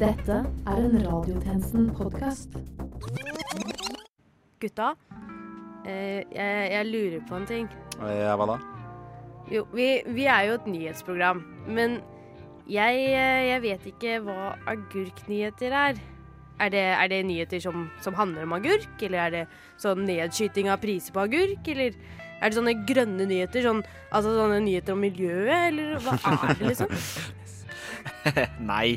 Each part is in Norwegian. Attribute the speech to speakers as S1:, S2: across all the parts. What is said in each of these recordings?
S1: Dette er en Radiotjenesten-podkast.
S2: Gutta, eh, jeg, jeg lurer på en ting.
S3: Ja, Eh, hva da?
S2: Jo, vi, vi er jo et nyhetsprogram, men jeg, eh, jeg vet ikke hva agurknyheter er. Er det, er det nyheter som, som handler om agurk, eller er det sånn nedskyting av priser på agurk, eller er det sånne grønne nyheter, sånn, altså sånne nyheter om miljøet, eller hva er det liksom?
S4: Nei.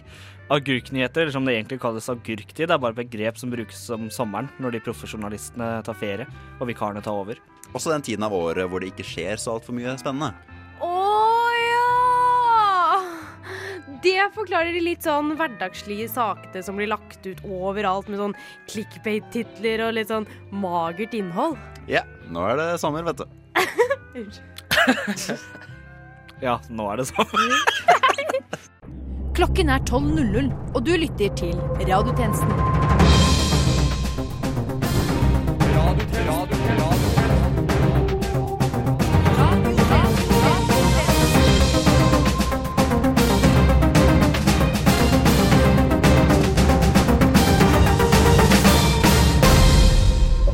S4: Agurknyheter, eller som det egentlig kalles agurktid, er bare et begrep som brukes om sommeren, når de profesjonalistene tar ferie og vikarene tar over.
S3: Også den tiden av året hvor det ikke skjer så altfor mye spennende.
S2: Å ja! Det forklarer de litt sånn hverdagslige sakene som blir lagt ut overalt med sånn clickbait-titler og litt sånn magert innhold.
S3: Ja, nå er det sommer, vet du.
S4: Ja, nå er det sånn.
S1: Klokken er 12.00, og du lytter til Radiotjenesten.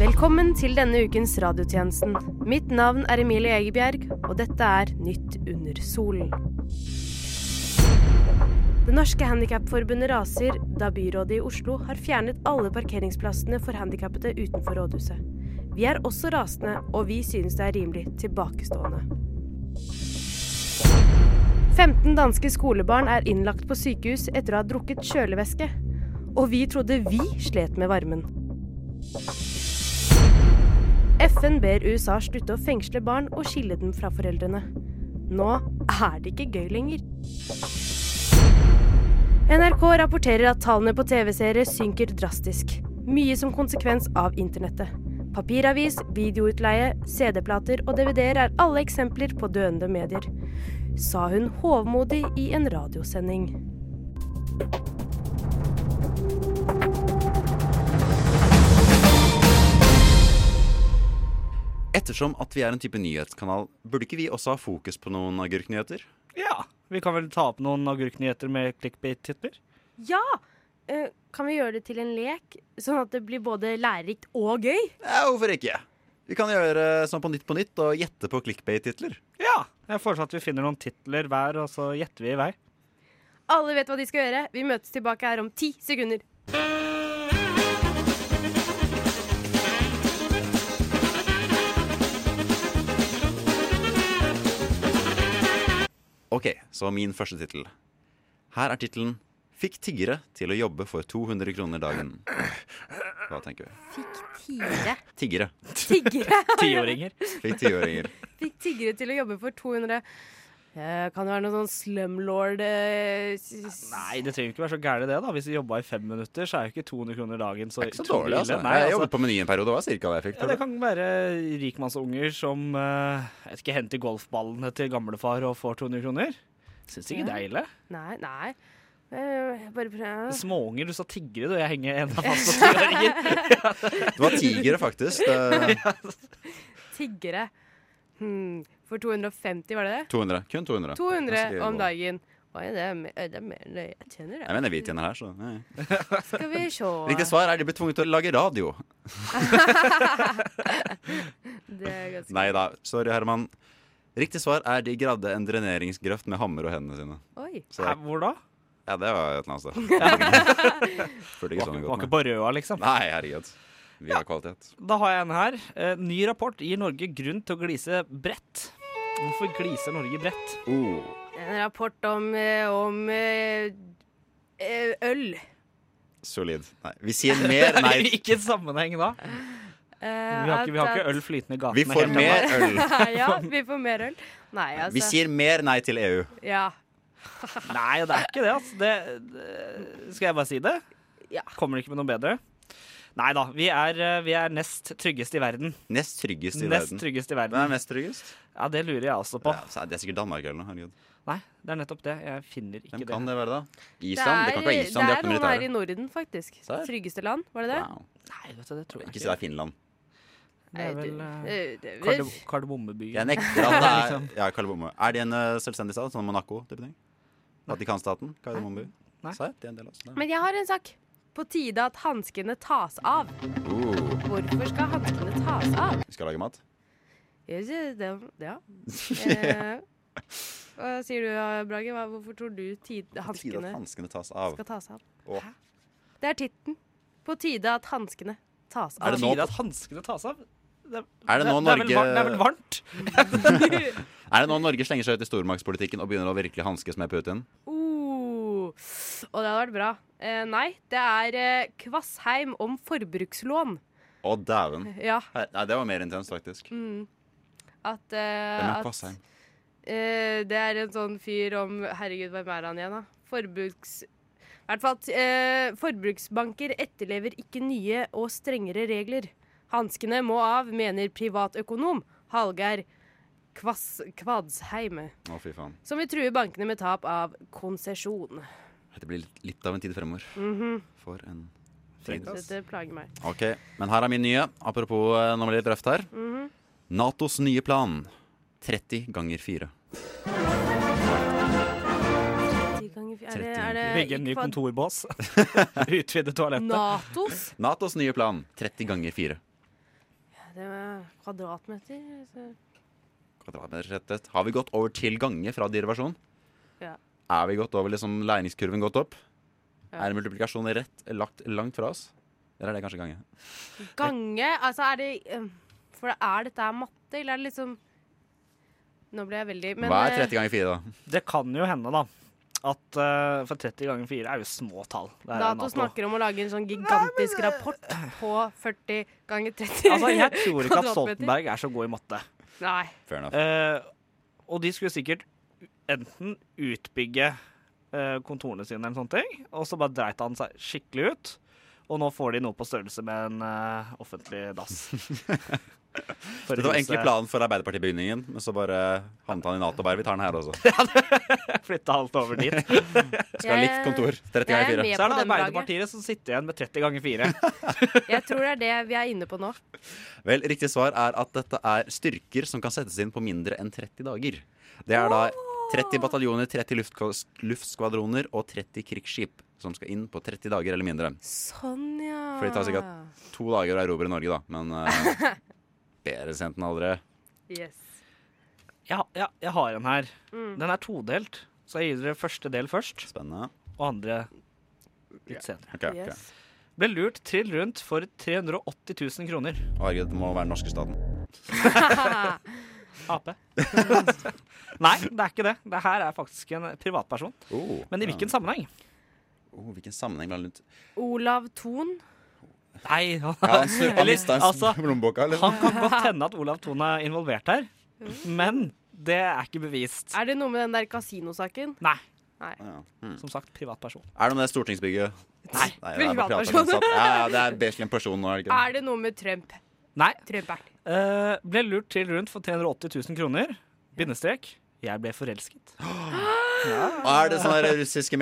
S2: Velkommen til denne ukens radiotjenesten. Mitt navn er Emilie Egebjerg, og dette er Nytt under solen. Det norske handikapforbundet raser da byrådet i Oslo har fjernet alle parkeringsplassene for handikappede utenfor rådhuset. Vi er også rasende, og vi synes det er rimelig tilbakestående. 15 danske skolebarn er innlagt på sykehus etter å ha drukket kjølevæske. Og vi trodde vi slet med varmen. FN ber USA slutte å fengsle barn og skille dem fra foreldrene. Nå er det ikke gøy lenger. NRK rapporterer at tallene på TV-serier synker drastisk. Mye som konsekvens av internettet. Papiravis, videoutleie, CD-plater og DVD-er er alle eksempler på døende medier. Sa hun hovmodig i en radiosending.
S3: Ettersom at vi er en type nyhetskanal, burde ikke vi også ha fokus på noen agurknyheter?
S4: Ja, vi kan vel ta opp noen agurknyheter med clickbait-titler?
S2: Ja! eh, Kan vi gjøre det til en lek, sånn at det blir både lærerikt og gøy?
S3: Ja, hvorfor ikke? Vi kan gjøre sånn på Nytt på Nytt og gjette på clickbait-titler.
S4: Ja. Jeg foreslår at vi finner noen titler hver, og så gjetter vi i vei.
S2: Alle vet hva de skal gjøre. Vi møtes tilbake her om ti sekunder.
S3: Ok, så min første tittel. Her er tittelen 'Fikk tiggere til å jobbe for 200 kroner dagen'. Hva tenker vi?
S2: Fikk tiggere.
S3: Tiggere.
S2: Tiggere.
S4: Tiåringer.
S3: Fikk tiåringer.
S2: Fikk tiggere til å jobbe for 200 Eh, Kan det være noe sånn slumlord eh, s- s-
S4: Nei, det trenger ikke være så gærent det, da. Hvis vi jobba i fem minutter, så er jo ikke 200 kroner dagen så
S3: Det er ikke så
S4: utrolig
S3: dårlig, altså.
S4: ille. Nei,
S3: Jeg
S4: altså.
S3: jobbet på Meny en periode, det var cirka det jeg fikk.
S4: Ja,
S3: tror
S4: det
S3: du?
S4: kan være rikmannsunger som eh, jeg vet ikke, henter golfballene til gamlefar og får 200 kroner. Syns ikke det er ille.
S2: Nei, nei. Eh, Bare prøv.
S4: Småunger, du sa tiggere, du. Jeg henger en av fast på tiåringer.
S3: Det var tigere, faktisk. Det-
S2: Tiggere. Hmm. For 250, var det det?
S3: 200. Kun 200. Jeg
S2: 200
S3: skal
S2: om
S3: gå.
S2: dagen. Oi, det er, me- det er mer enn det jeg tjener.
S3: Jeg
S2: jeg.
S3: mener vi tjener her, så ja, ja.
S2: Skal vi se.
S3: Riktig svar er de blir tvunget til å lage radio.
S2: Det er ganske
S3: Nei da, sorry Herman. Riktig svar er de gravde en dreneringsgrøft med hammer og hendene sine.
S2: Oi.
S3: Så,
S4: Hæ, Hvor da?
S3: ja, det var et eller annet sted. Følte ikke
S4: Var,
S3: sånn det
S4: var
S3: gått
S4: ikke
S3: med.
S4: på røda, liksom.
S3: Nei, herregud. Vi har kvalitet.
S4: Da har jeg en her. Eh, ny rapport gir Norge grunn til å glise bredt. Hvorfor gliser Norge bredt?
S3: Oh.
S2: En rapport om, eh, om eh, eh, øl.
S3: Solid. Nei, vi sier mer nei.
S4: ikke sammenheng da.
S2: Eh,
S4: Vi har ikke, vi har ikke øl flytende i
S3: Vi
S4: gatene.
S3: får
S4: helt
S3: mer
S4: ennå.
S3: øl.
S2: ja, vi får mer øl. Nei, altså.
S3: Vi sier mer nei til E EU.
S2: Ja.
S4: Nei, det er ikke det, altså. Det, det, skal jeg bare si det?
S2: Ja.
S4: Kommer det ikke med noe bedre? Nei da. Vi er, eh, vi er nest tryggest i verden.
S3: Nest tryggest i
S4: Nest
S3: verden.
S4: tryggest i
S3: Hvem er
S4: verden.
S3: mest tryggest?
S4: Ja, det lurer jeg også på.
S3: Ja, så er det er sikkert Danmark eller noe. herregud.
S4: Nei, det er nettopp det. Jeg finner ikke
S3: Hvem
S4: det.
S3: kan det være, da? Island? Det kan ikke være Island,
S2: det
S3: de har
S2: er
S3: ikke
S2: noen her i
S3: militære.
S2: Norden, faktisk.
S3: Serr?
S2: Tryggeste land, var det det?
S3: Wow.
S4: Nei, vet du, det tror jeg
S3: Ikke
S4: ikke.
S3: si det er Finland.
S4: Det er vel
S2: Nei,
S4: eh,
S2: du- det- det-
S4: Kardem- Kardemommeby.
S3: Jeg nekter at det liksom- er Ja, Kardemomme. Er de en eh, selvstendig stat? Sånn Monaco? type ting? Vatikanstaten? Kardemommeby?
S4: Nei.
S3: Sa jeg at det er en del av oss? Nei.
S2: Men jeg har en sak. På tide at hanskene tas av.
S3: Uh,
S2: Hvorfor skal hanskene tas av?
S3: vi skal lage mat.
S2: Jeg sier det- Ja. Eh, Hva sier du, Brage? Hva- Hvorfor tror du tid,
S3: På tide at
S2: hanskene
S3: hanskene tas av.
S2: skal tas av?
S3: Åh.
S2: Det er titten. På tide at hanskene tas
S3: Er
S2: av.
S4: Er
S3: det
S4: det
S3: nå-
S4: tide at hanskene tas av? Det,
S3: Er det nå
S4: er vel
S3: Norge-
S4: varmt, det er vel varmt?
S3: Er det nå Norge slenger seg ut i stormaktspolitikken og begynner å virkelig hanskes med Putin?
S2: Oh. Og det hadde vært bra. Eh, nei, det er eh, Kvassheim om forbrukslån.
S3: Å, dæven.
S2: Ja,
S3: Her- Nei, det var mer intenst, faktisk.
S2: mm. At, eh,
S3: Hvem er
S2: at
S3: Kvassheim?
S2: eh, Det er en sånn fyr om Herregud, hvem er han igjen, da? Forbruks... I hvert fall at eh, forbruksbanker etterlever ikke nye og strengere regler. Hanskene må av, mener privatøkonom Hallgeir Kvass, Kvadsheim.
S3: Å, fy faen.
S2: Som vil true bankene med tap av konsesjon.
S3: Dette blir litt- litt av en tid fremover.
S2: Mhm.
S3: For en
S4: Fint, ass.
S2: Dette plager meg.
S3: Ok, men her er min nye. Apropos eh, nå må det litt røft her.
S2: Mhm.
S3: Natos nye plan. 30 ganger
S2: 10 ganger
S3: 4.
S2: fire- Er det, er det
S4: Bygge en ny
S2: ikke fra
S4: kontorbås. Utvide toalettet.
S2: Natos?
S3: Natos nye plan. 30 ganger 4.
S2: Det er kvadratmeter. altså. så-
S3: Kvadratmeter rettet. Har vi gått over til gange fra derivasjon?
S2: Ja.
S3: Er vi gått over liksom legningskurven gått opp?
S2: Ja.
S3: Er multiplikasjon rett lagt langt fra oss? Eller er det kanskje gange?
S2: Gange? Altså, er det um, For er dette her matte, eller er det liksom Nå ble jeg veldig men,
S3: Hva
S2: eh,
S3: er 30 ganger 4, da?
S4: Det kan jo hende, da. At eh, For 30 ganger 4 er jo små tall. Det er
S2: Nato snakker om å lage en sånn gigantisk rapport på 40 ganger 30.
S4: Altså, Jeg tror ikke at
S2: kvadratmeter.
S4: Stoltenberg er så god i matte.
S2: Nei.
S3: Fair enough.
S4: Eh, og de skulle sikkert enten utbygge eh, kontorene sine, eller sånne ting, og så bare dreit han seg skikkelig ut. Og nå får de noe på størrelse med en eh, offentlig dass. For
S3: Dette var
S4: huset-
S3: egentlig planen for Arbeiderpartibygningen, men så bare havnet han i Nato. Bare vi tar den her også. Skal
S4: Flytte alt over dit.
S3: ha likt kontor.
S2: Jeg er
S3: 30 ganger 4.
S2: med.
S4: Så er det
S2: på den dagen.
S4: Arbeiderpartiet som sitter igjen med 30 ganger 4.
S2: Jeg tror det er det vi er inne på nå.
S3: Vel, riktig svar er at dette er styrker som kan settes inn på mindre enn 30 dager. Det er da 30 bataljoner, 30 luftko- luftskvadroner og 30 krigsskip som skal inn på 30 dager eller mindre.
S2: Sånn, ja.
S3: For det tar sikkert- To dager å erobre Norge, da, men eh, bedre sent enn aldri.
S2: Yes.
S4: Jeg, ha- jeg, jeg har en her.
S2: Mm.
S4: Den er todelt, så jeg gir dere første del først,
S3: Spennende.
S4: og andre litt senere.
S3: Ok, ok.
S2: yes.
S4: Ble lurt trill rundt for 380 000 kroner.
S3: Å, Herregud, det må være den norske staten.
S4: Ap. Nei, det er ikke det. Det her er faktisk en privatperson.
S3: Oh,
S4: Men i hvilken sammenheng?
S3: oh, hvilken sammenheng ble han rundt?
S2: Olav Thon.
S4: Nei, han,
S3: Ja, han snur- han
S4: Eller,
S3: mista en
S4: altså,
S3: lommeboka, eller?
S4: han kan godt hende at Olav Thon er involvert her, men det er ikke bevist.
S2: Er det noe med den der kasinosaken?
S4: Nei.
S3: Ja. Hmm.
S4: Som sagt, privatperson.
S3: Er det noe med det stortingsbygget? Nei,
S4: Nei.
S3: det er bare
S2: Privatperson.
S3: privatperson. Ja, ja, det er basically en person nå, er det ikke det?
S2: Er det noe med Trump?
S4: Nei.
S2: Trumperen.
S4: Eh, ble lurt trill rundt for 380 000 kroner. Bindestrek. Jeg ble forelsket.
S3: Er det sånne der russiske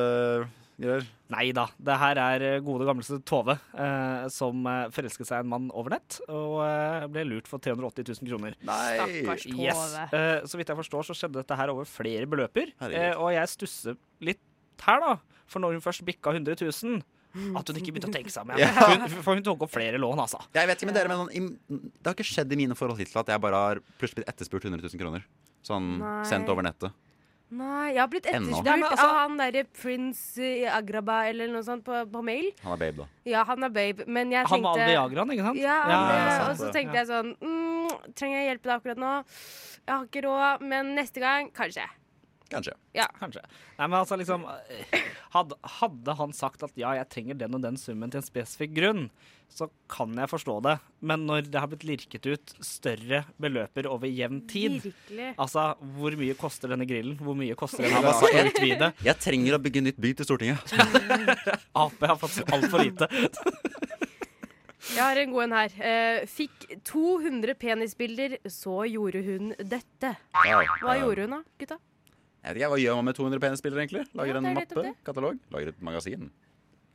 S3: mailbride-greier?
S4: Nei da. Det her er eh, gode gamleste Tove eh, som eh, forelsket seg i en mann over nett og eh, ble lurt for 380 000 kroner.
S2: Stakkars Tove.
S4: Yes. Eh, så vidt jeg forstår, så skjedde dette her over flere beløper.
S3: Herregud.
S4: Eh, og jeg stusser litt her, da. For når hun først bikka 100 000 at hun ikke begynte å tenke seg om igjen. Hun- For hun tok opp flere lån, altså.
S3: Jeg vet ikke med dere, men sånn, i- det har ikke skjedd i mine forhold hittil at jeg bare har plutselig blitt etterspurt 100 000 kroner. Sånn
S2: Nei.
S3: sendt over nettet.
S2: Nei, jeg har blitt
S3: Ennå.
S2: etterspurt
S4: Ja, men altså-
S2: av han derre prins eh, Agraba eller noe sånt på, på mail.
S3: Han er babe, da.
S2: Ja, han er babe, men jeg
S4: Han var
S2: tenkte
S4: all Viagraen, ikke sant?
S2: ja, han
S4: Ja,
S2: er-
S3: ja, sant
S2: og så
S3: det.
S2: tenkte jeg sånn mm, Trenger jeg hjelp til akkurat nå? Jeg har ikke råd, men neste gang kanskje.
S3: Kanskje.
S4: Kanskje. Nei, men altså liksom eh, hadde, hadde han sagt at ja, jeg trenger den og den summen til en spesifikk grunn, så kan jeg forstå det. Men når det har blitt lirket ut større beløper over jevn tid
S2: Virkelig.
S4: Altså, hvor mye koster denne grillen? Hvor mye koster denne
S3: Ja, altså, hva sa
S4: å utvide?
S3: Jeg trenger å bygge nytt by til Stortinget.
S4: Ap har fått altfor lite.
S2: Jeg har en god en her. Eh, fikk 200 penisbilder, så gjorde hun dette. Hva gjorde hun da, gutta?
S3: Jeg vet ikke, Hva gjør man med 200 penisbilder, egentlig? Lager
S2: Ja, det
S3: en
S2: er nettopp
S3: mappe?
S2: det.
S3: Katalog? Lager et magasin?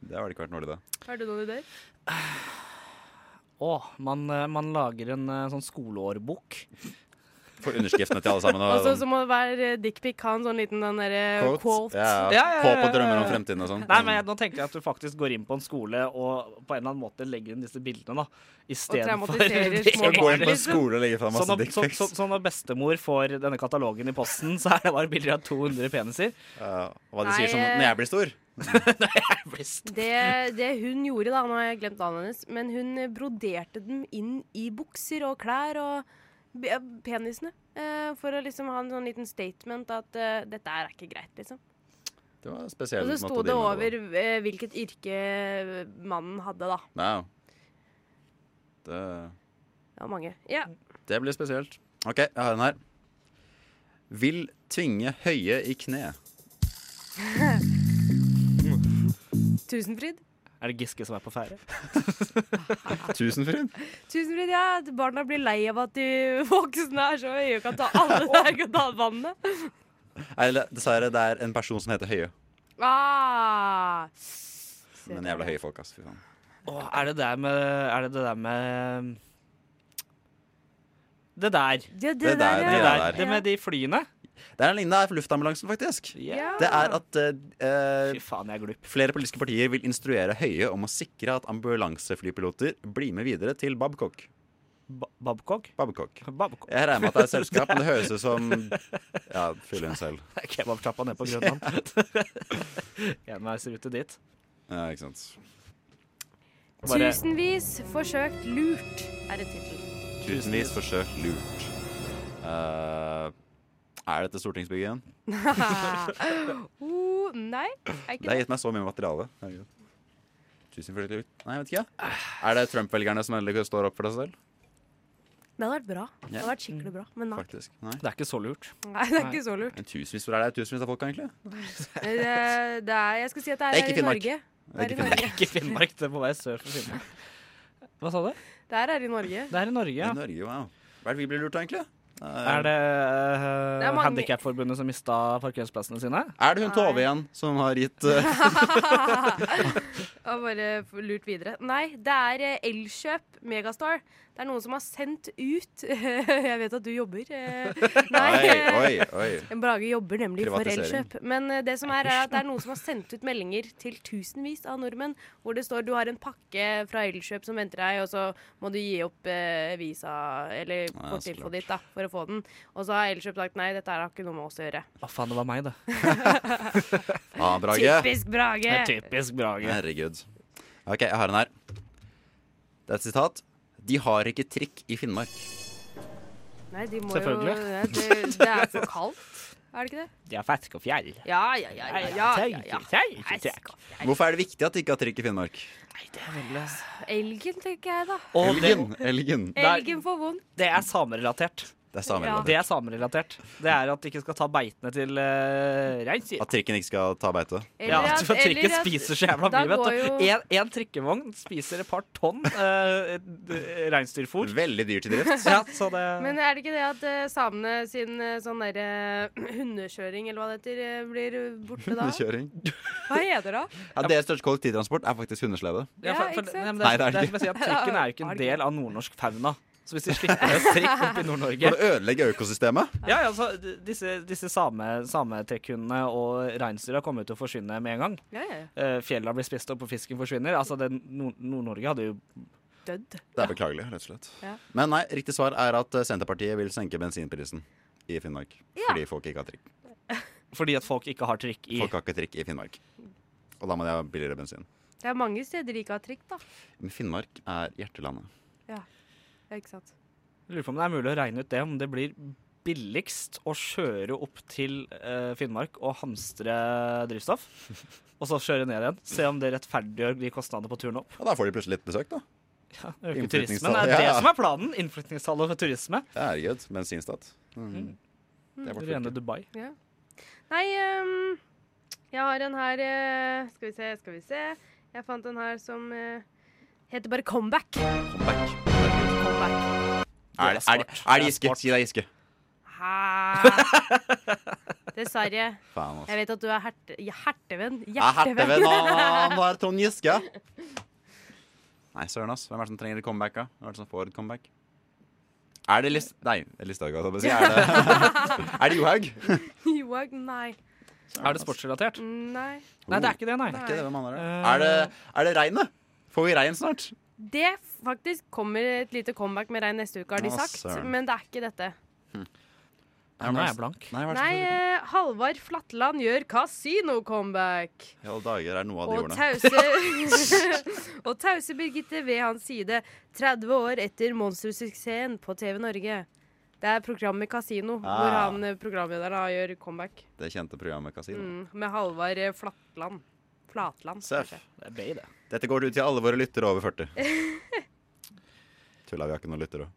S3: Det har det ikke vært noe i det.
S2: Har du noen ideer?
S4: Å, man, eh, man lager en eh, sånn skoleårbok.
S3: For underskriftene til alle sammen. Og,
S2: Og så må hver dickpic ha en sånn liten den derre quote.
S3: Ja,
S4: Ja, ja, ja,
S3: Håp og
S4: ja,
S3: drømmer om
S4: ja.
S3: fremtiden og sånn.
S4: Nei, men jeg, nå tenker jeg at du faktisk går inn på en skole og på en eller annen måte legger inn disse bildene. da I stedet for
S2: traumatiserer små
S3: Skal gå inn på en
S2: liksom.
S3: skole og legge fram
S4: Så
S3: masse
S4: når, så,
S3: dickpics.
S4: så, så når sånn- bestemor får denne katalogen i posten, så er det bare bilder av 200 peniser.
S3: Ja, hva de sier sånn
S2: Nei,
S3: Når jeg blir stor.
S2: Det, det hun gjorde, da, nå har jeg glemt navnet hennes, men hun broderte dem inn i bukser og klær og b- ja, penisene. eh, For å liksom ha en sånn liten statement at eh, dette er ikke greit, liksom.
S3: Det var en spesiell
S2: Og så
S3: måte
S2: sto
S3: å
S2: det
S3: deale med
S2: over eh, hvilket yrke eh, mannen hadde, da.
S3: Wow. Det,
S2: Det var mange. Ja.
S3: det blir spesielt. OK, jeg har en her. Vil tvinge høye i kne.
S2: Tusenfryd.
S4: Er det Giske som er på ferde?
S3: Tusenfryd.
S2: Tusenfryd, ja. at Barna blir lei av at de voksne er så høye og kan ta alle der og ta vannet.
S3: Nei, eller dessverre, det er en person som heter Høie.
S2: Ah.
S3: Men jævla høye folk, ass. Fy faen.
S4: Å, er det der med Er det det der med Det der.
S2: Ja, det,
S3: Det
S2: der,
S3: der,
S4: Det
S2: ja.
S4: der.
S3: der.
S4: Det med de flyene.
S3: Det er en lignende her for luftambulansen, faktisk.
S2: Ja.
S3: Det er at eh,
S4: Fy faen, jeg er glup.
S3: Flere politiske partier vil instruere Høie om å sikre at ambulanseflypiloter blir med videre til Babcock.
S4: Ba Babcock?
S3: Babcock.
S4: Babcock.
S3: Jeg regner med at det er et selskap, men det høres ut som Ja, fyll inn selv.
S4: Kebabtrappa nede på Grønland. Enveisrute dit.
S3: Ja, ikke sant.
S4: Bare-
S2: Tusenvis forsøkt lurt er en tittel.
S3: Tusenvis forsøkt lurt. Eh, er dette stortingsbygget igjen?
S2: oh, nei, er
S3: Det
S2: ikke
S3: har
S2: det.
S3: gitt meg så mye materiale. Herregud. Tusen forsøkt lurt. Nei, jeg vet ikke. Er det Trump-velgerne som endelig står opp for seg selv?
S2: Det hadde vært bra. Det hadde vært skikkelig bra. Men nei,
S3: Faktisk. Nei.
S4: Det er ikke så lurt.
S2: nei det er ikke så lurt.
S3: Men Tusenvis, hvor er det tusenvis av folk, egentlig?
S2: Det, det er, jeg skal si at det er,
S3: Det er ikke
S2: her i
S3: Finnmark.
S2: Norge.
S3: Det er
S2: Det er i Norge.
S3: ikke Finnmark.
S4: Ikke Finnmark, det er på vei sør for Finnmark. Hva sa du?
S2: Det her er i Norge.
S4: Det er i Norge, ja.
S3: I Norge, wow. Hva er det vi blir lurt av, egentlig? Eh,
S4: Er det, uh,
S2: Det er mange-
S4: Handikapforbundet som mista parkeringsplassene sine?
S3: Er det hun Tove
S2: Nei.
S3: igjen som har gitt eh,
S2: Og bare f- lurt videre. Nei, det er eh, Elkjøp Megastar. Det er noen som har sendt ut Jeg vet at du jobber. eh,
S3: Oi,
S2: Nei.
S3: oi, oi.
S2: Brage jobber nemlig for
S3: Privatisering.
S2: Elkjøp. Men eh, det som er, er at det er noen som har sendt ut meldinger til tusenvis av nordmenn hvor det står du har en pakke fra Elkjøp som venter deg, og så må du gi opp eh, visa eller
S3: Ja, så klart.
S2: kortinfoen ditt da, for å få den. Og så har Elkjøp sagt nei, dette her har ikke noe med oss å gjøre.
S4: Å faen, det var meg, det.
S3: Ah, Brage.
S2: Typisk Brage!
S4: Typisk Brage.
S3: Herregud. OK, jeg har en her. Det er et sitat. De har ikke trikk i Finnmark.
S2: Nei, de må
S4: Selvfølgelig.
S2: Jo, Nei, det, det er for kaldt, er det ikke det?
S4: De er ferske og fjell.
S2: Ja, ja, ja. ja, ja, ja, ja. Nei, skaff deg.
S3: Hvorfor er det viktig at de ikke har trikk i Finnmark?
S2: Elgen, tenker jeg, da.
S4: Og det,
S3: Elgen. Elgen.
S4: Nei.
S2: Elgen får vondt.
S4: det er samerelatert.
S3: Det er samerelatert.
S4: Det er samerelatert. Det er at de ikke skal ta beitene til uh, reinsdyr.
S3: At trikken ikke skal ta beite.
S4: Ja,
S2: Eller
S4: at,
S2: at-
S4: for trikken
S2: eller at-
S4: spiser så jævla
S2: da
S4: mye, vet
S2: går
S4: du.
S2: jo-
S4: En, en trikkevogn spiser et par tonn uh, reinsdyrfôr.
S3: Veldig dyrt i drift.
S4: Ja, så det
S2: Men er det ikke det at eh, samene sin eh, sånn derre hundekjøring, eller hva det heter, eh, blir borte da?
S3: Hundekjøring.
S2: Hva heter det da?
S3: Ja, Deres største kollektivtransport er faktisk hundeslede.
S4: ja, for,
S2: Ja,
S4: for,
S2: ikke
S4: nei,
S2: sant?
S4: men det,
S3: Nei,
S4: er-
S3: det er
S4: det er
S3: det
S4: som jeg sier, at trikken er jo ikke
S2: Har
S4: en
S2: det ikke.
S4: del av nordnorsk fauna. Så hvis de slipper løs trikk opp i Nord-Norge
S3: For å ødelegge økosystemet.
S4: Ja, ja, altså, d- disse, disse same, sametrekkhundene og reinsdyra kommer jo til å forsvinne med en gang.
S2: Ja, ja, ja.
S4: Eh, Fjella blir spist opp, og fisken forsvinner. Altså, det Nord- Nord-Norge hadde jo
S2: Dødd.
S3: Det er beklagelig, rett og slett.
S2: Ja.
S3: Men nei, riktig svar er at eh, Senterpartiet vil senke bensinprisen i Finnmark.
S2: Ja.
S3: Fordi folk ikke har trikk.
S4: Fordi at folk ikke har trikk i
S3: Folk har ikke trikk i Finnmark. Og da må de ha billigere bensin.
S2: Det er mange steder de ikke har trikk, da.
S3: Men Finnmark er hjertelandet.
S2: Ja, ikke sant?
S4: Lurer på om det er mulig å regne ut det, om det blir billigst å kjøre opp til eh, Finnmark og hamstre drivstoff, og så kjøre ned igjen. Se om det rettferdiggjør de kostnadene på turen opp.
S3: Og da får de plutselig litt besøk, da.
S4: Ja, Øke turismen.
S3: Innflytningstallet,
S4: Det er
S3: ja,
S4: det
S3: ja.
S4: som er planen. Innflytningstallet for turisme.
S3: Det er gøy. Bensinstat. Mm. Det er vårt
S4: Rene
S3: fylke.
S4: Dubai.
S2: Nei, ehm, jeg har en her eh, Skal vi se, skal vi se. Jeg fant en her som eh, heter bare Comeback.
S3: Comeback.
S2: Comeback.
S3: Er, er, er,
S4: smart.
S3: det
S4: Det er
S3: Giske?
S4: smart.
S3: Si det er Giske.
S2: Hæ? Dessverre.
S3: Faen, altså.
S2: Jeg vet at du er herte, ja, hertevenn.
S3: Ja, Herteven,
S2: Hjertevenn.
S3: han, han var Trond Giske. Nei, søren, ass. Hvem er det som trenger et comeback? da? Hvem er det som får et comeback? Er det List... Nei, Listhaug, altså. Jeg bare sier, Er det, er det Johaug?
S2: Johaug, nei. Mm,
S4: Er det
S3: altså.
S4: sportsrelatert?
S3: Mm.
S2: Nei.
S4: Nei, det er ikke det, nei.
S3: Det er ikke det, hvem andre er
S4: Eh.
S3: det? Er det, er det regnet? Får vi regn snart?
S2: Det faktisk kommer et lite comeback med regn neste uke, har de
S3: Å,
S2: sagt.
S3: søren.
S2: Men det er ikke dette.
S4: Nå
S3: altså.
S4: er jeg blank.
S3: Nei, hva er det som
S2: Nei,
S3: skjer?
S2: eh, Halvard Flatland gjør kasino-comeback.
S3: I alle dager er noe av de
S2: Og
S3: ordene.
S2: tause, og tause Birgitte ved hans side 30 år etter monstersuksessen på TV Norge. Det er programmet Casino, hvor
S3: Ah.
S2: han eh, programlederen da gjør comeback.
S3: Det kjente programmet Kasino.
S2: Mm, med Halvard eh, Flatland. Flatland.
S3: Seff.
S2: kanskje.
S4: Det er bay, det.
S3: Dette går ut til alle våre lyttere over 40. Tulla, vi har ikke noen lyttere.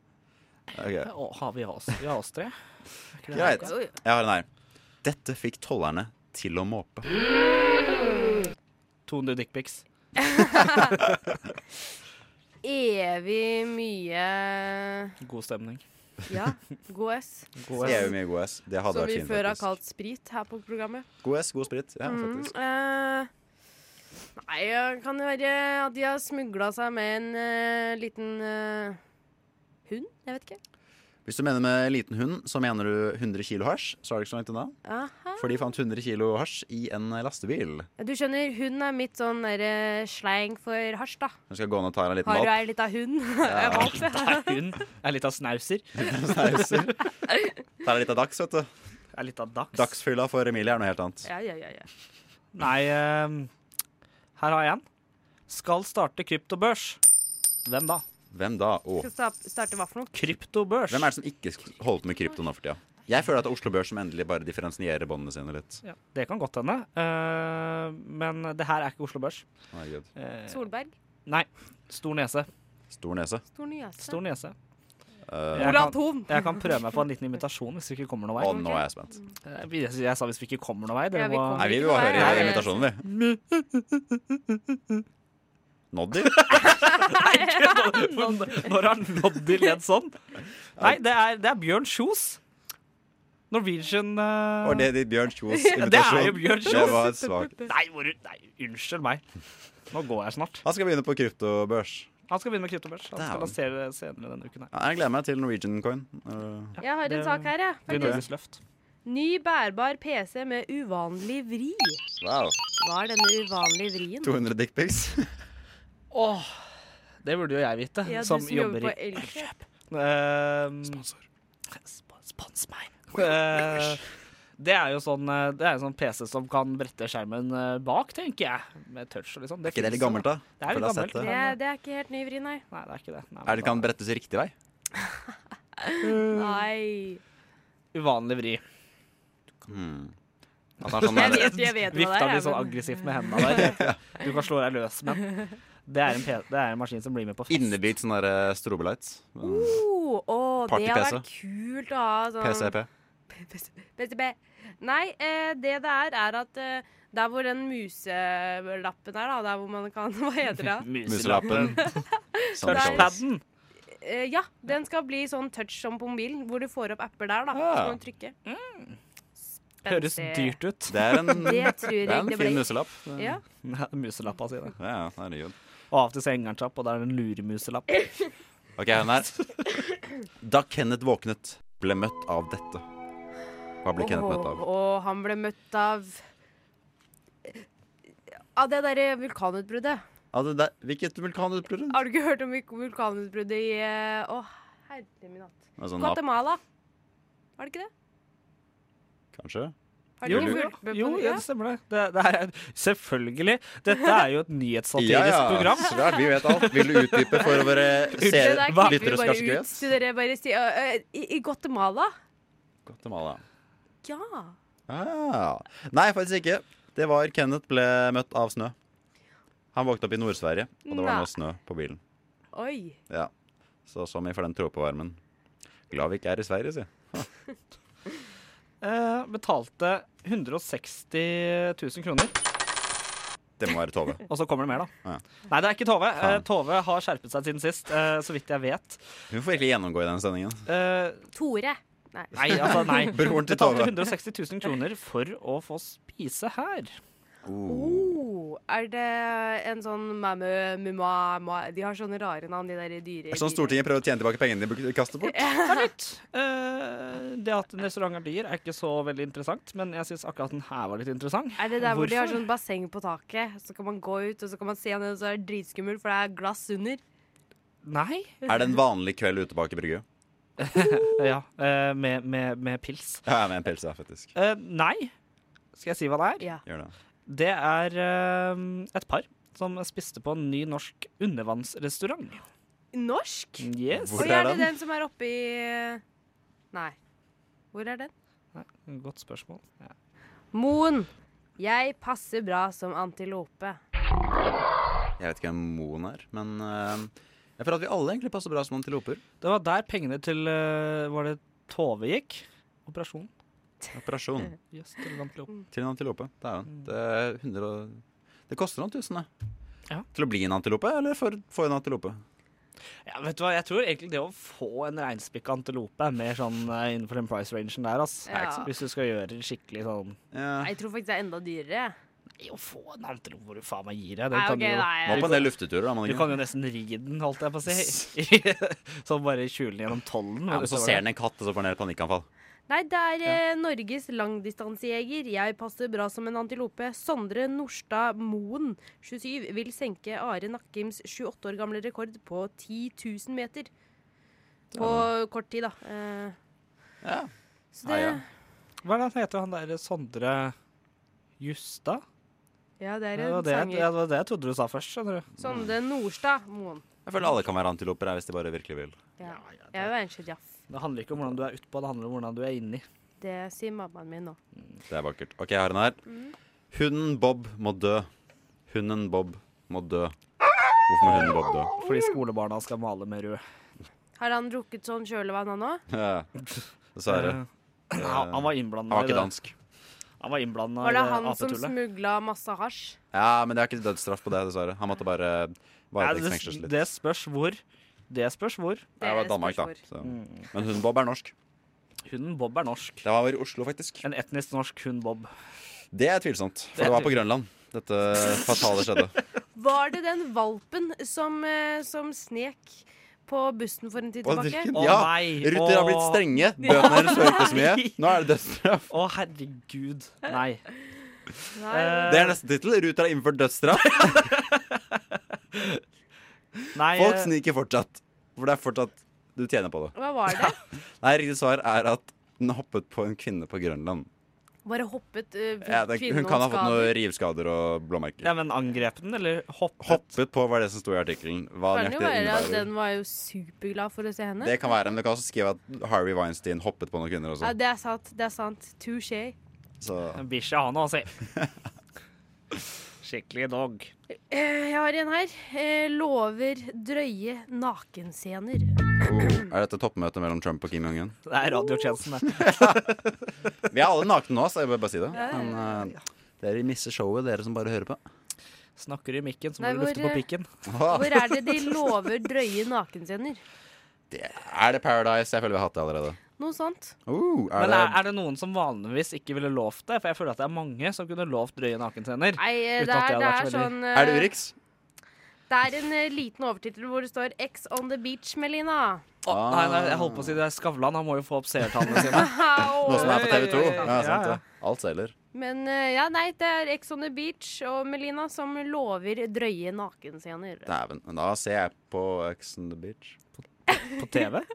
S3: Ok,
S4: Å, har vi oss? Vi har oss tre. Er ikke det
S3: Greit.
S4: noe?
S2: Jo, jo.
S3: Jeg har en her. Dette fikk tollerne til å måpe.
S4: 200 dickpics.
S2: Evig mye
S4: God stemning.
S2: Ja, god S.
S4: God
S3: Det er jo
S4: S.
S3: mye god S. Det hadde
S2: Som
S3: vært
S2: vi
S3: fint.
S2: før har
S3: faktisk.
S2: kalt sprit her på programmet.
S3: God S, god sprit. Ja,
S2: Mm,
S3: faktisk.
S2: eh, nei, eh, kan det være at de har smugla seg med en eh, liten eh, hund? Jeg vet ikke.
S3: Hvis du mener med liten hund, så mener du 100 kilo hasj. Så er det ikke så langt unna.
S2: Aha.
S3: For de fant 100 kilo hasj i en lastebil.
S2: Du skjønner, hund er mitt sånn derre slang for hasj, da.
S3: Hun skal gå ned og ta en
S2: Har
S3: liten
S2: du
S3: valp.
S2: ei lita hund? Ja. valp, ja.
S4: Er hun er litt av snauser.
S3: Snauser. Ta deg litt av dags, vet du.
S4: Er litt av dags.
S3: Dagsfylla for Emilie er noe helt annet.
S2: Ja, ja, ja, ja.
S4: Nei, ehm, her har jeg en. Skal starte kryptobørs. Hvem da?
S3: Hvem da? Å.
S2: Skal sta- starte hva for noe?
S4: Kryptobørs.
S3: Hvem er det som ikke sk- holder på med krypto nå for tida? Jeg føler at det er Oslo Børs som endelig bare differensierer båndene sine litt.
S4: Ja, det kan godt hende. Eh, men det her er ikke Oslo Børs.
S3: Herregud.
S4: Eh,
S2: Solberg?
S4: nei. Stor nese.
S3: Stor nese.
S2: Stor nyhase.
S4: Stor nese.
S3: Eh,
S4: Ja.
S2: Olav Thon.
S4: Jeg kan prøve meg på en liten invitasjon hvis vi ikke kommer noen vei.
S3: å, nå er jeg spent.
S4: Eh, Jeg, jeg sa hvis vi ikke kommer noen vei.
S2: Ja,
S4: Dere
S2: vi
S4: må
S2: kommer.
S3: Nei, vi vil bare
S2: Nei,
S3: høre
S2: nei, nei.
S3: invitasjonen, vi. Noddy?
S4: Når har Noddy ledd sånn? Nei, det er, det er Bjørn Kjos. Norwegian eh,
S3: Var det ditt Bjørn Kjos
S4: det er jo
S3: invitasjon?
S4: Bjørn
S3: Det
S4: Kjos!
S3: var svakt.
S4: Nei, hvor, nei, unnskyld meg. Nå går jeg snart.
S3: Han skal begynne på kryptobørs.
S4: Han skal begynne med kryptobørs. Han skal
S3: Dæven.
S4: lansere det senere denne uken. her.
S3: Ja, Jeg gleder meg til Norwegian Coin. Eh,
S2: Jeg har
S4: det-
S2: en sak her, jeg.
S4: Det blir
S2: faktisk.
S4: Norges løft.
S2: Ny bærbar PC med uvanlig vri.
S3: Wow.
S2: Hva er denne uvanlige vrien?
S3: 200 dickpics.
S4: Åh, det burde jo jeg vite,
S2: Ja, du
S4: som, jobber,
S2: på
S4: i
S2: Elkjøp.
S4: Ehm, sp- Spons meg. Eh, det er jo sånn, eh, det er jo sånn PC som kan brette skjermen eh, bak, tenker jeg. Med touch og litt sånn.
S3: Er ikke det
S4: finnes
S3: litt gammelt,
S4: jo,
S3: da?
S4: Det
S3: Føler
S4: er litt
S3: jeg har
S4: gammelt.
S3: sett
S2: Det,
S3: det.
S2: er- det er ikke helt ny vri, nei.
S4: Nei, det er ikke det. Nei,
S3: Er det
S4: men
S3: kan brettes riktig vei?
S2: Nei.
S4: da- Uvanlig vri.
S3: Hmm. At han er sånn
S2: Jeg
S3: der-
S2: vet, jeg vet hva det
S4: Vifta
S2: er.
S4: blir
S2: jeg,
S4: sånn
S2: men-
S4: aggressivt med hendene der. Du kan slå deg løs med den. Det er en, P det er en maskin som blir med på fest.
S3: Innebygd sånn der eh, strobelights. Mm,
S2: Oh, å, det hadde
S3: Party-PC.
S2: vært kult å ha sånn
S3: PCP.
S2: PCP. Nei, eh, det det er, er at eh, der hvor den muselappen er, da, der hvor man kan Hva heter det?
S3: Muselappen. Sånn det kalles.
S4: Touchpaden.
S2: Eh, ja, den skal bli sånn touch som på mobilen, hvor du får opp apper der, da.
S3: Ah. Mm.
S2: Så kan du trykke.
S4: Høres
S2: Spenstig.
S4: dyrt ut.
S3: Det er en,
S2: Det tror jeg
S3: det er en
S2: det
S3: fin
S2: ble.
S3: muselapp.
S2: Ja.
S4: Ja, Muselappa si det.
S3: Ja, herregud.
S4: Og av og til så henger den seg opp, og da er det en luremuselapp.
S3: Ok, hun er Da Kenneth våknet, ble møtt av dette. Hva ble Kenneth møtt av?
S2: Og, og han ble møtt av Av det derre vulkanutbruddet.
S3: Ja, det der, hvilket vulkanutbrudd?
S2: Har du ikke hørt om vul- vulkanutbruddet i eh, Å, herre min hatt.
S3: Altså, nap,
S2: Guatemala. Var det ikke det?
S3: kanskje?
S2: Har du
S4: Jo,
S2: ikke
S4: jo,
S2: fulgt med på
S4: jo,
S2: det?
S4: ja, det stemmer det. det, det er, selvfølgelig. Dette er jo et nyhetsstatirisk program.
S3: svært. Vi vet alt. Vil du utdype for våre
S2: Det
S3: seere?
S2: der klipper
S4: Hva-
S2: vi
S3: lyttere
S2: bare
S3: skal ikke
S2: ut,
S3: vite.
S2: så dere bare sier «Ø, ø, i, I Guatemala?
S3: Guatemala.
S2: Ja.
S3: Ah. Nei, faktisk ikke. Det var Kenneth ble møtt av snø. Han våknet opp i Nord-Sverige, og det var
S2: Nei.
S3: nå snø på bilen.
S2: Oi.
S3: Ja. Så som i for den tråpevarmen. Glad vi ikke er i Sverige, si.
S4: Eh, betalte 160 000 kroner.
S3: Det må være Tove.
S4: Og så kommer det mer, da.
S3: Ja.
S4: Nei, det er ikke Tove. Eh,
S3: Faen.
S4: Tove har skjerpet seg siden sist, eh, så vidt jeg vet.
S3: Hun får virkelig gjennomgå i den sendingen.
S4: Eh,
S2: Tore. Nei.
S4: nei, altså, nei.
S3: Broren til
S4: Betalte
S3: Tove.
S4: 160 000 kroner for å få spise her.
S2: Oh, Er det en sånn mamu, muma, ma, De har sånne rare navn, de der dyre
S3: Det er sånn Stortinget prøver å tjene tilbake pengene de bruk- kaster bort.
S4: Det er litt. Eh, det at en restaurant er dyr, er ikke så veldig interessant, men jeg syns akkurat den her var litt interessant.
S2: Er det der hvor de har
S4: Hvorfor?
S2: sånn basseng på taket? Så kan man gå ut, og så kan man se ned, og så er det dritskummelt, for det er glass under.
S4: Nei.
S3: Er det en vanlig kveld ute bak i brygge?
S4: Ja, eh, med, med, med pils.
S3: Ja, med en pels, ja, faktisk.
S4: Eh, nei. Skal jeg si hva det er?
S2: Ja.
S3: Gjør det.
S4: Det er eh, et par som spiste på en ny norsk undervannsrestaurant.
S2: Norsk?
S4: Yes.
S3: Hvor
S2: Oi,
S3: er
S2: er det
S3: den?
S2: den som er oppi Nei. Hvor er den?
S4: Nei, godt spørsmål. Ja.
S2: Moen. Jeg passer bra som antilope.
S3: Jeg vet ikke hvem Moen er, men eh, jeg føler at vi alle egentlig passer bra som antiloper.
S4: Det var der pengene til eh, Var det Tove gikk? Operasjon.
S3: Operasjon
S4: Yes, til antilope.
S3: til en antilope. Det er jo
S4: Mm.
S3: en. Det, er 100 og- det koster noen tusen, det.
S4: Ja.
S3: Til å bli en antilope, eller for å få en antilope?
S4: Ja, vet du hva, Jeg tror egentlig det å få en reinspikka antilope er mer sånn eh, innenfor den price rangen der, ass.
S2: Ja.
S4: Ikke sant? Hvis du skal gjøre det skikkelig sånn
S3: Ja.
S2: Nei, Jeg tror faktisk det er enda dyrere.
S4: Nei, å få en antilope hvor du faen meg gir deg, den
S2: Nei,
S4: kan
S2: ok,
S4: du jo
S3: Må
S2: nei.
S3: på en del lufteturer, da. Man
S4: Du
S3: ikke?
S4: kan jo nesten ri den, holdt jeg på å si. sånn bare kjule den gjennom tollen.
S3: Ja, men så ser den en katt, og så får den et panikkanfall.
S2: nei, det er eh, Norges langdistansejeger. Jeg passer bra som en antilope. Sondre Norstad Moen, 27, vil senke Are Nakkims 28 år gamle rekord på 10 000 meter. På kort tid, da. Eh,
S3: Ja.
S2: så det
S3: Ja, ja.
S4: Hva er det han heter, han der Sondre Justad?
S2: Ja, det er
S4: Det
S2: en
S4: var det, jeg-
S2: sanger.
S4: det var det jeg trodde du sa først, skjønner du.
S2: Sondre Norstad Moen.
S3: Jeg føler alle kan være antiloper her hvis de bare virkelig vil.
S2: Ja.
S4: det-
S2: Jeg vil være en sjiraff.
S4: Det handler ikke om hvordan du er utpå, det handler om hvordan du er inni.
S2: Det sier mammaen min nå.
S3: Det er vakkert. OK, jeg har en her. Hunden Bob må dø. Hunden Bob må dø. Hvorfor må hunden Bob dø?
S4: Fordi skolebarna skal male med rød.
S2: Har han drukket sånn kjølevann, han òg?
S3: Ja. Dessverre.
S4: Eh, Han han var
S3: Han
S4: innblanda
S3: var ikke dansk.
S4: Han var innblanda i
S2: Var det
S4: det
S2: han som
S4: apetullet.
S2: smugla masse hasj?
S3: Ja, men det er ikke dødsstraff på det, dessverre. Han måtte bare varetektsfengsles
S4: Nei, det,
S3: litt.
S4: det spørs hvor. Det spørs hvor.
S3: Det var Danmark, da.
S2: spørsmål.
S3: Så. Men hunden Bob er norsk.
S4: Hunden Bob er norsk.
S3: Det var i Oslo, faktisk.
S4: En etnisk norsk hund Bob.
S3: Det er tvilsomt,
S4: Det
S3: for
S4: er
S3: det var på Grønland. Dette fatale skjedde.
S2: Var det den valpen som, eh, som snek på bussen for en tid
S3: Og
S2: tilbake?
S3: hvilken-
S4: Å,
S3: ja,
S4: nei.
S3: Ruter har blitt
S4: Å.
S3: strenge. Bøtene deres hører ikke så mye. Nå er det dødsstraff.
S4: Å, herregud. Nei.
S2: Nei,
S4: Eh,
S3: Det er neste tittel. Ruter har innført dødsstraff.
S4: Nei,
S3: Folk
S4: eh,
S3: sniker fortsatt. For det er fortsatt Du tjener på det.
S2: Hva var det?
S3: Nei, riktig svar er at den hoppet på en kvinne på Grønland.
S2: Bare hoppet uh,
S3: Ja, det, hun kan ha fått noen rivskader og blåmerker.
S4: Ja, men angrep den, eller hoppet?
S3: Hoppet på var det som sto i artikkelen. Hva
S2: Kan jo
S3: nøyaktig det
S2: være at
S3: innebærer.
S2: den var jo superglad for å se henne.
S3: Det kan være, men du kan også skrive at Harvey Weinstein hoppet på noen kvinner
S2: Ja,
S3: også.
S2: det er sant. Det er sant. Touché.
S3: Så
S4: Bikkja, han òg, si. Skikkelig dog.
S2: Eh, Jeg har en her. Eh, Lover drøye nakenscener.
S3: oh, er dette toppmøtet mellom Trump og Kim Jong-un?
S4: Det er radiotjenesten, det.
S3: Vi er alle nakne nå, så jeg vil bare si det. Men eh, dere misser showet, dere som bare hører på.
S4: Snakker i mikken, så må
S2: Nei,
S4: du lufte
S2: hvor,
S4: på
S2: eh,
S4: pikken.
S3: Åh,
S2: Hvor er det de lover drøye nakenscener?
S3: det, er det Paradise? Jeg føler vi har hatt det allerede.
S2: Noe sånt.
S3: Oh, er
S4: Men
S3: det
S4: er, er det noen som vanligvis ikke ville lovt det? For jeg føler at det er mange som kunne lovt drøye nakenscener.
S2: Nei, eh,
S4: Uten
S2: det
S4: at
S2: er, det
S4: det hadde
S2: er
S4: vært så
S2: sånn eh,
S3: Er det Urix?
S2: Det er en eh, liten overtittel hvor det står 'X on the beach', Melina.
S4: Å,
S3: Ah.
S4: nei, nei, jeg holdt på å si det er Skavlan. Han må jo få opp seertallene sine.
S2: Au.
S3: Noe som er på TV 2? Ja,
S4: Ja,
S3: sant
S4: ja.
S3: det. Alt selger.
S2: Men eh, ja, nei, det er 'X on the beach' og Melina som lover drøye nakenscener.
S3: Dæven. men Da ser jeg på X on the Beach.
S4: På TV?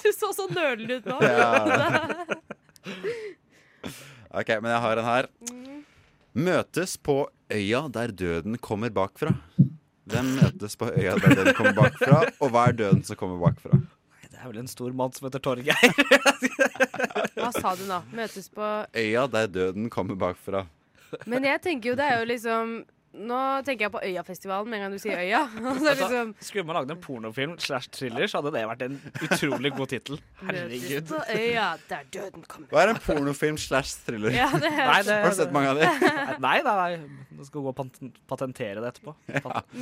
S2: Du så så nølende ut nå.
S3: OK, men jeg har en her. Møtes på øya der døden kommer bakfra. Hvem møtes på øya der døden kommer bakfra, og hva er døden som kommer bakfra?
S4: Nei, det er vel en stor mann som heter Torgeir.
S2: Hva sa du nå? Møtes på
S3: Øya der døden kommer bakfra.
S2: Men jeg tenker jo det er jo liksom Nå tenker jeg på Øyafestivalen med en gang du sier Øya. Og så er det
S4: Altså,
S2: liksom
S4: skulle man lagd en pornofilm slash thriller, så hadde det vært en utrolig god tittel.
S2: Møtes
S4: Herregud.
S2: på øya der døden kommer.
S3: Hva er en pornofilm slash thriller?
S2: Ja, det er
S4: Nei, det,
S3: Har du sett mange av de?
S4: Nei, nei, nei. Du skal gå og paten- patentere det etterpå.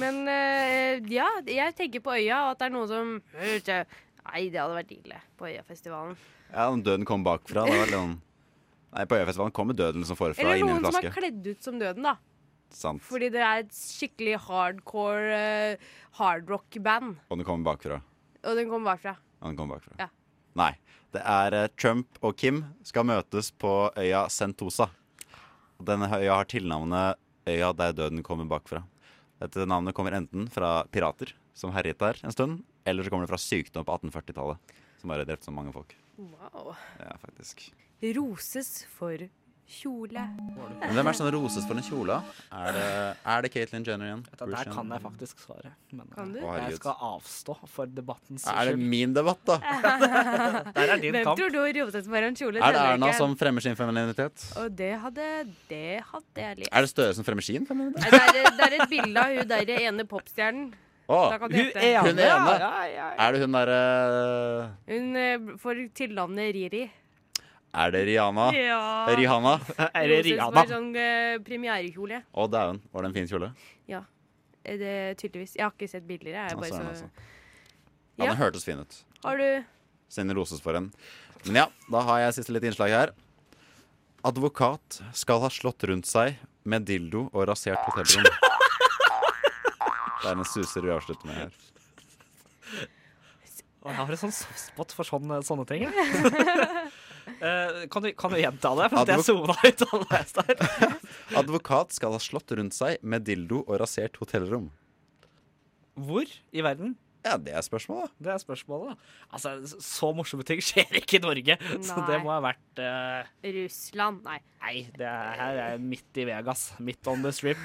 S2: Men eh, ja, jeg tenker på Øya, og at det er noen som eh, Nei, det hadde vært ille på Øyafestivalen.
S3: Ja, om døden kommer bakfra. Det var litt sånn Nei, på Øyafestivalen kommer døden som forfra
S2: Eller
S3: inn i
S2: noen
S3: en
S2: som er
S3: flaske.
S2: kledd ut som døden, da.
S3: Sant.
S2: Fordi det er et skikkelig hardcore eh, hardrock-band.
S3: Og den kommer bakfra.
S2: Og den kommer bakfra.
S3: Og den kommer bakfra.
S2: Ja.
S3: Nei. Det er eh, Trump og Kim skal møtes på øya Sentosa. Denne øya har tilnavnet Øya der døden kommer bakfra. Dette navnet kommer enten fra pirater som herjet der en stund, eller så kommer det fra sykdom på 1840-tallet, som bare drepte så mange folk.
S2: Wow.
S3: Ja, faktisk.
S2: Roses for kjole.
S3: Men hvem er sånn roses for den kjola? Er det, er det Caitlyn Jenner igjen?
S4: Dette der kan jeg faktisk svare. Men eh,
S2: Kan du?
S3: Å, herregud.
S4: jeg skal avstå for debattens
S3: Er det
S4: skyld.
S3: min debatt, da?
S4: Der er din
S2: Hvem
S4: kamp.
S2: tror du roses for en kjole?
S3: Er det
S2: denne
S3: Erna
S2: uken?
S3: som fremmer sin femininitet?
S2: Og det hadde Det hadde jeg likt.
S3: Er det Støre som fremmer sin femininitet?
S2: Nei, Det er, det er et bilde av hun der ene popstjernen.
S3: Å,
S2: Da kan du
S4: Hun
S2: gjette.
S4: ene.
S3: Hun ene.
S4: Ja, ja, ja.
S3: er det hun derre
S2: Hun eh, får tilnavnet Riri.
S3: Er det Rihanna?
S2: Ja.
S3: Rihanna?
S4: Er det
S2: Roses
S4: Rihanna?
S2: for sånn eh, premierekjole.
S3: Å, dæven. Var det en fin kjole?
S2: Eh, Det, tydeligvis. Jeg har ikke sett bilder. Jeg
S3: Ja,
S2: er bare så
S3: søren, altså. Ja,
S2: Ja.
S3: den hørtes fin ut.
S2: Har du
S3: Siden det roses for en. Men ja, da har jeg siste litt innslag her. Advokat skal ha slått rundt seg med dildo og rasert hotellrom. Det er en suser vi avslutter med her.
S4: Å, Jeg har en sånn soft spot for sånne, sånne ting. jeg. Eh, kan, du, kan du gjenta det? For at jeg sona ut halvveis der.
S3: Advokat skal ha slått rundt seg med dildo og rasert hotellrom.
S4: Hvor i verden?
S3: Ja, det er spørsmålet, da.
S4: Det er spørsmålet. da. Altså, Så morsomme ting skjer ikke i Norge, så det
S2: Nei.
S4: må ha vært eh,
S2: Russland? Nei.
S4: Nei, det er, her er midt i Vegas. Midt on the strip.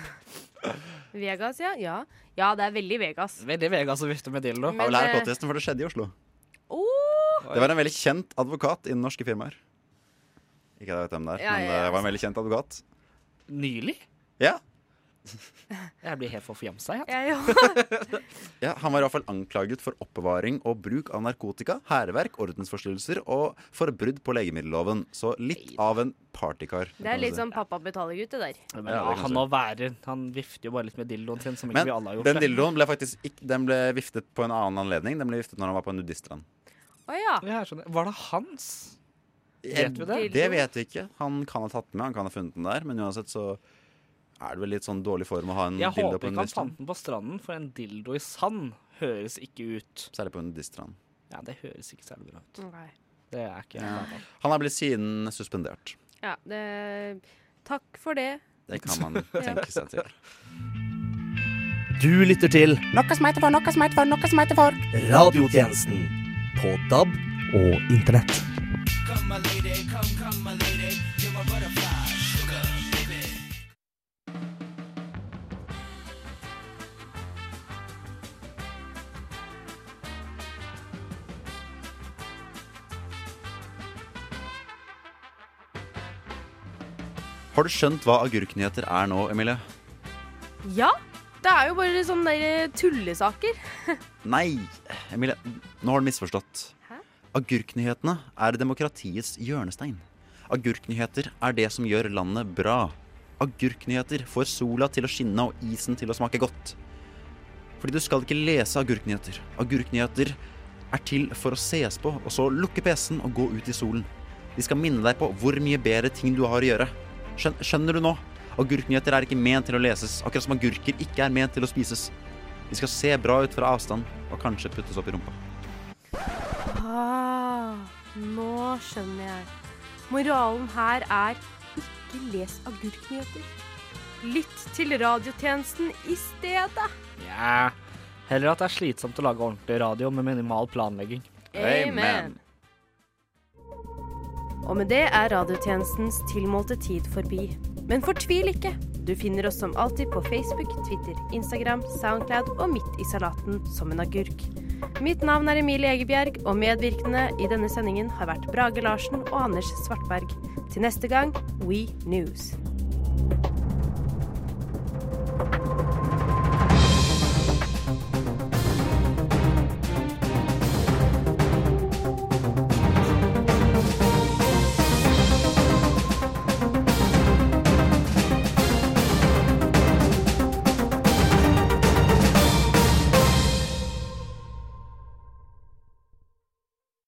S2: Vegas, ja. Ja, ja det er veldig Vegas.
S4: Veldig Vegas å vifte med dildo.
S3: Jeg vil lære
S2: eh, Oh!
S3: podcasten, for det skjedde i Oslo.
S2: åh,
S3: Det var en veldig kjent advokat innen norske firmaer. Ikke at jeg vet hvem det er,
S2: Ja,
S3: men
S2: ja, ja.
S3: det var en veldig kjent advokat.
S4: Nylig?
S3: Ja,
S4: Jeg blir helt forfjamsa, jeg.
S2: jeg jo.
S3: ja, Han var i hvert fall anklaget for oppbevaring og bruk av narkotika, hærverk, ordensforstyrrelser og for brudd på legemiddelloven. Så litt av en partykar.
S2: Det er
S3: kan man
S2: litt
S3: si.
S2: sånn pappa betaler gutt, det der.
S4: Men
S3: Ja,
S4: la
S3: det kan
S4: han
S3: du
S4: nå være. Han vifter jo bare litt med dildoen sin, som ikke
S3: Men
S4: vi alle har gjort.
S3: den
S4: det.
S3: dildoen ble faktisk ikke, den ble viftet på en annen anledning. Den ble viftet når han var på en nudiststrand.
S2: Å ja.
S4: Ja, jeg skjønner. Var sånn, det hans? Vet vi det?
S3: Det vet vi ikke. Han kan ha tatt den med, han kan ha funnet den der. Men uansett så er det vel litt sånn dårlig form å ha en
S4: Jeg
S3: dildo
S4: håper
S3: på en
S4: ikke han
S3: nudiststrand.
S4: fant den på stranden, for en dildo i sand høres ikke ut
S3: Særlig på en nudiststrand.
S4: Ja, det høres ikke særlig bra ut.
S2: Ok.
S4: Det er ikke jeg.
S3: Ja.
S4: glad for.
S3: Han er blitt siden suspendert.
S2: Ja, det Takk for det.
S3: Det kan man tenke seg til.
S5: Du lytter til
S6: Noe som heter for, noe som heter for, noe som heter for.
S5: Radiotjenesten på DAB og Internett.
S3: Har du skjønt hva agurknyheter er nå, Emilie?
S2: Ja. Det er jo bare sånne der eh, tullesaker.
S3: Nei, Emilie, nå har du misforstått.
S2: Hæ?
S3: Agurknyhetene er demokratiets hjørnestein. Agurknyheter er det som gjør landet bra. Agurknyheter får sola til å skinne og isen til å smake godt. Fordi du skal ikke lese agurknyheter. Agurknyheter er til for å ses på, og så lukke PC-en og gå ut i solen. De skal minne deg på hvor mye bedre ting du har å gjøre. Skjøn- Skjønner du nå? Agurknyheter er ikke ment til å leses, akkurat som agurker ikke er ment til å spises. De skal se bra ut fra avstand og kanskje puttes opp i rumpa.
S2: Ah, nå skjønner jeg. Moralen her er ikke les agurknyheter. Lytt til radiotjenesten i stedet.
S4: Nja. Heller at det er slitsomt å lage ordentlig radio med minimal planlegging.
S3: Amen.
S2: Og med det er radiotjenestens tilmålte tid forbi. Men fortvil ikke. Du finner oss som alltid på Facebook, Twitter, Instagram, Soundcloud og midt i salaten som en agurk. Mitt navn er Emilie Egebjerg, og medvirkende i denne sendingen har vært Brage Larsen og Anders Svartberg. Til neste gang, We News.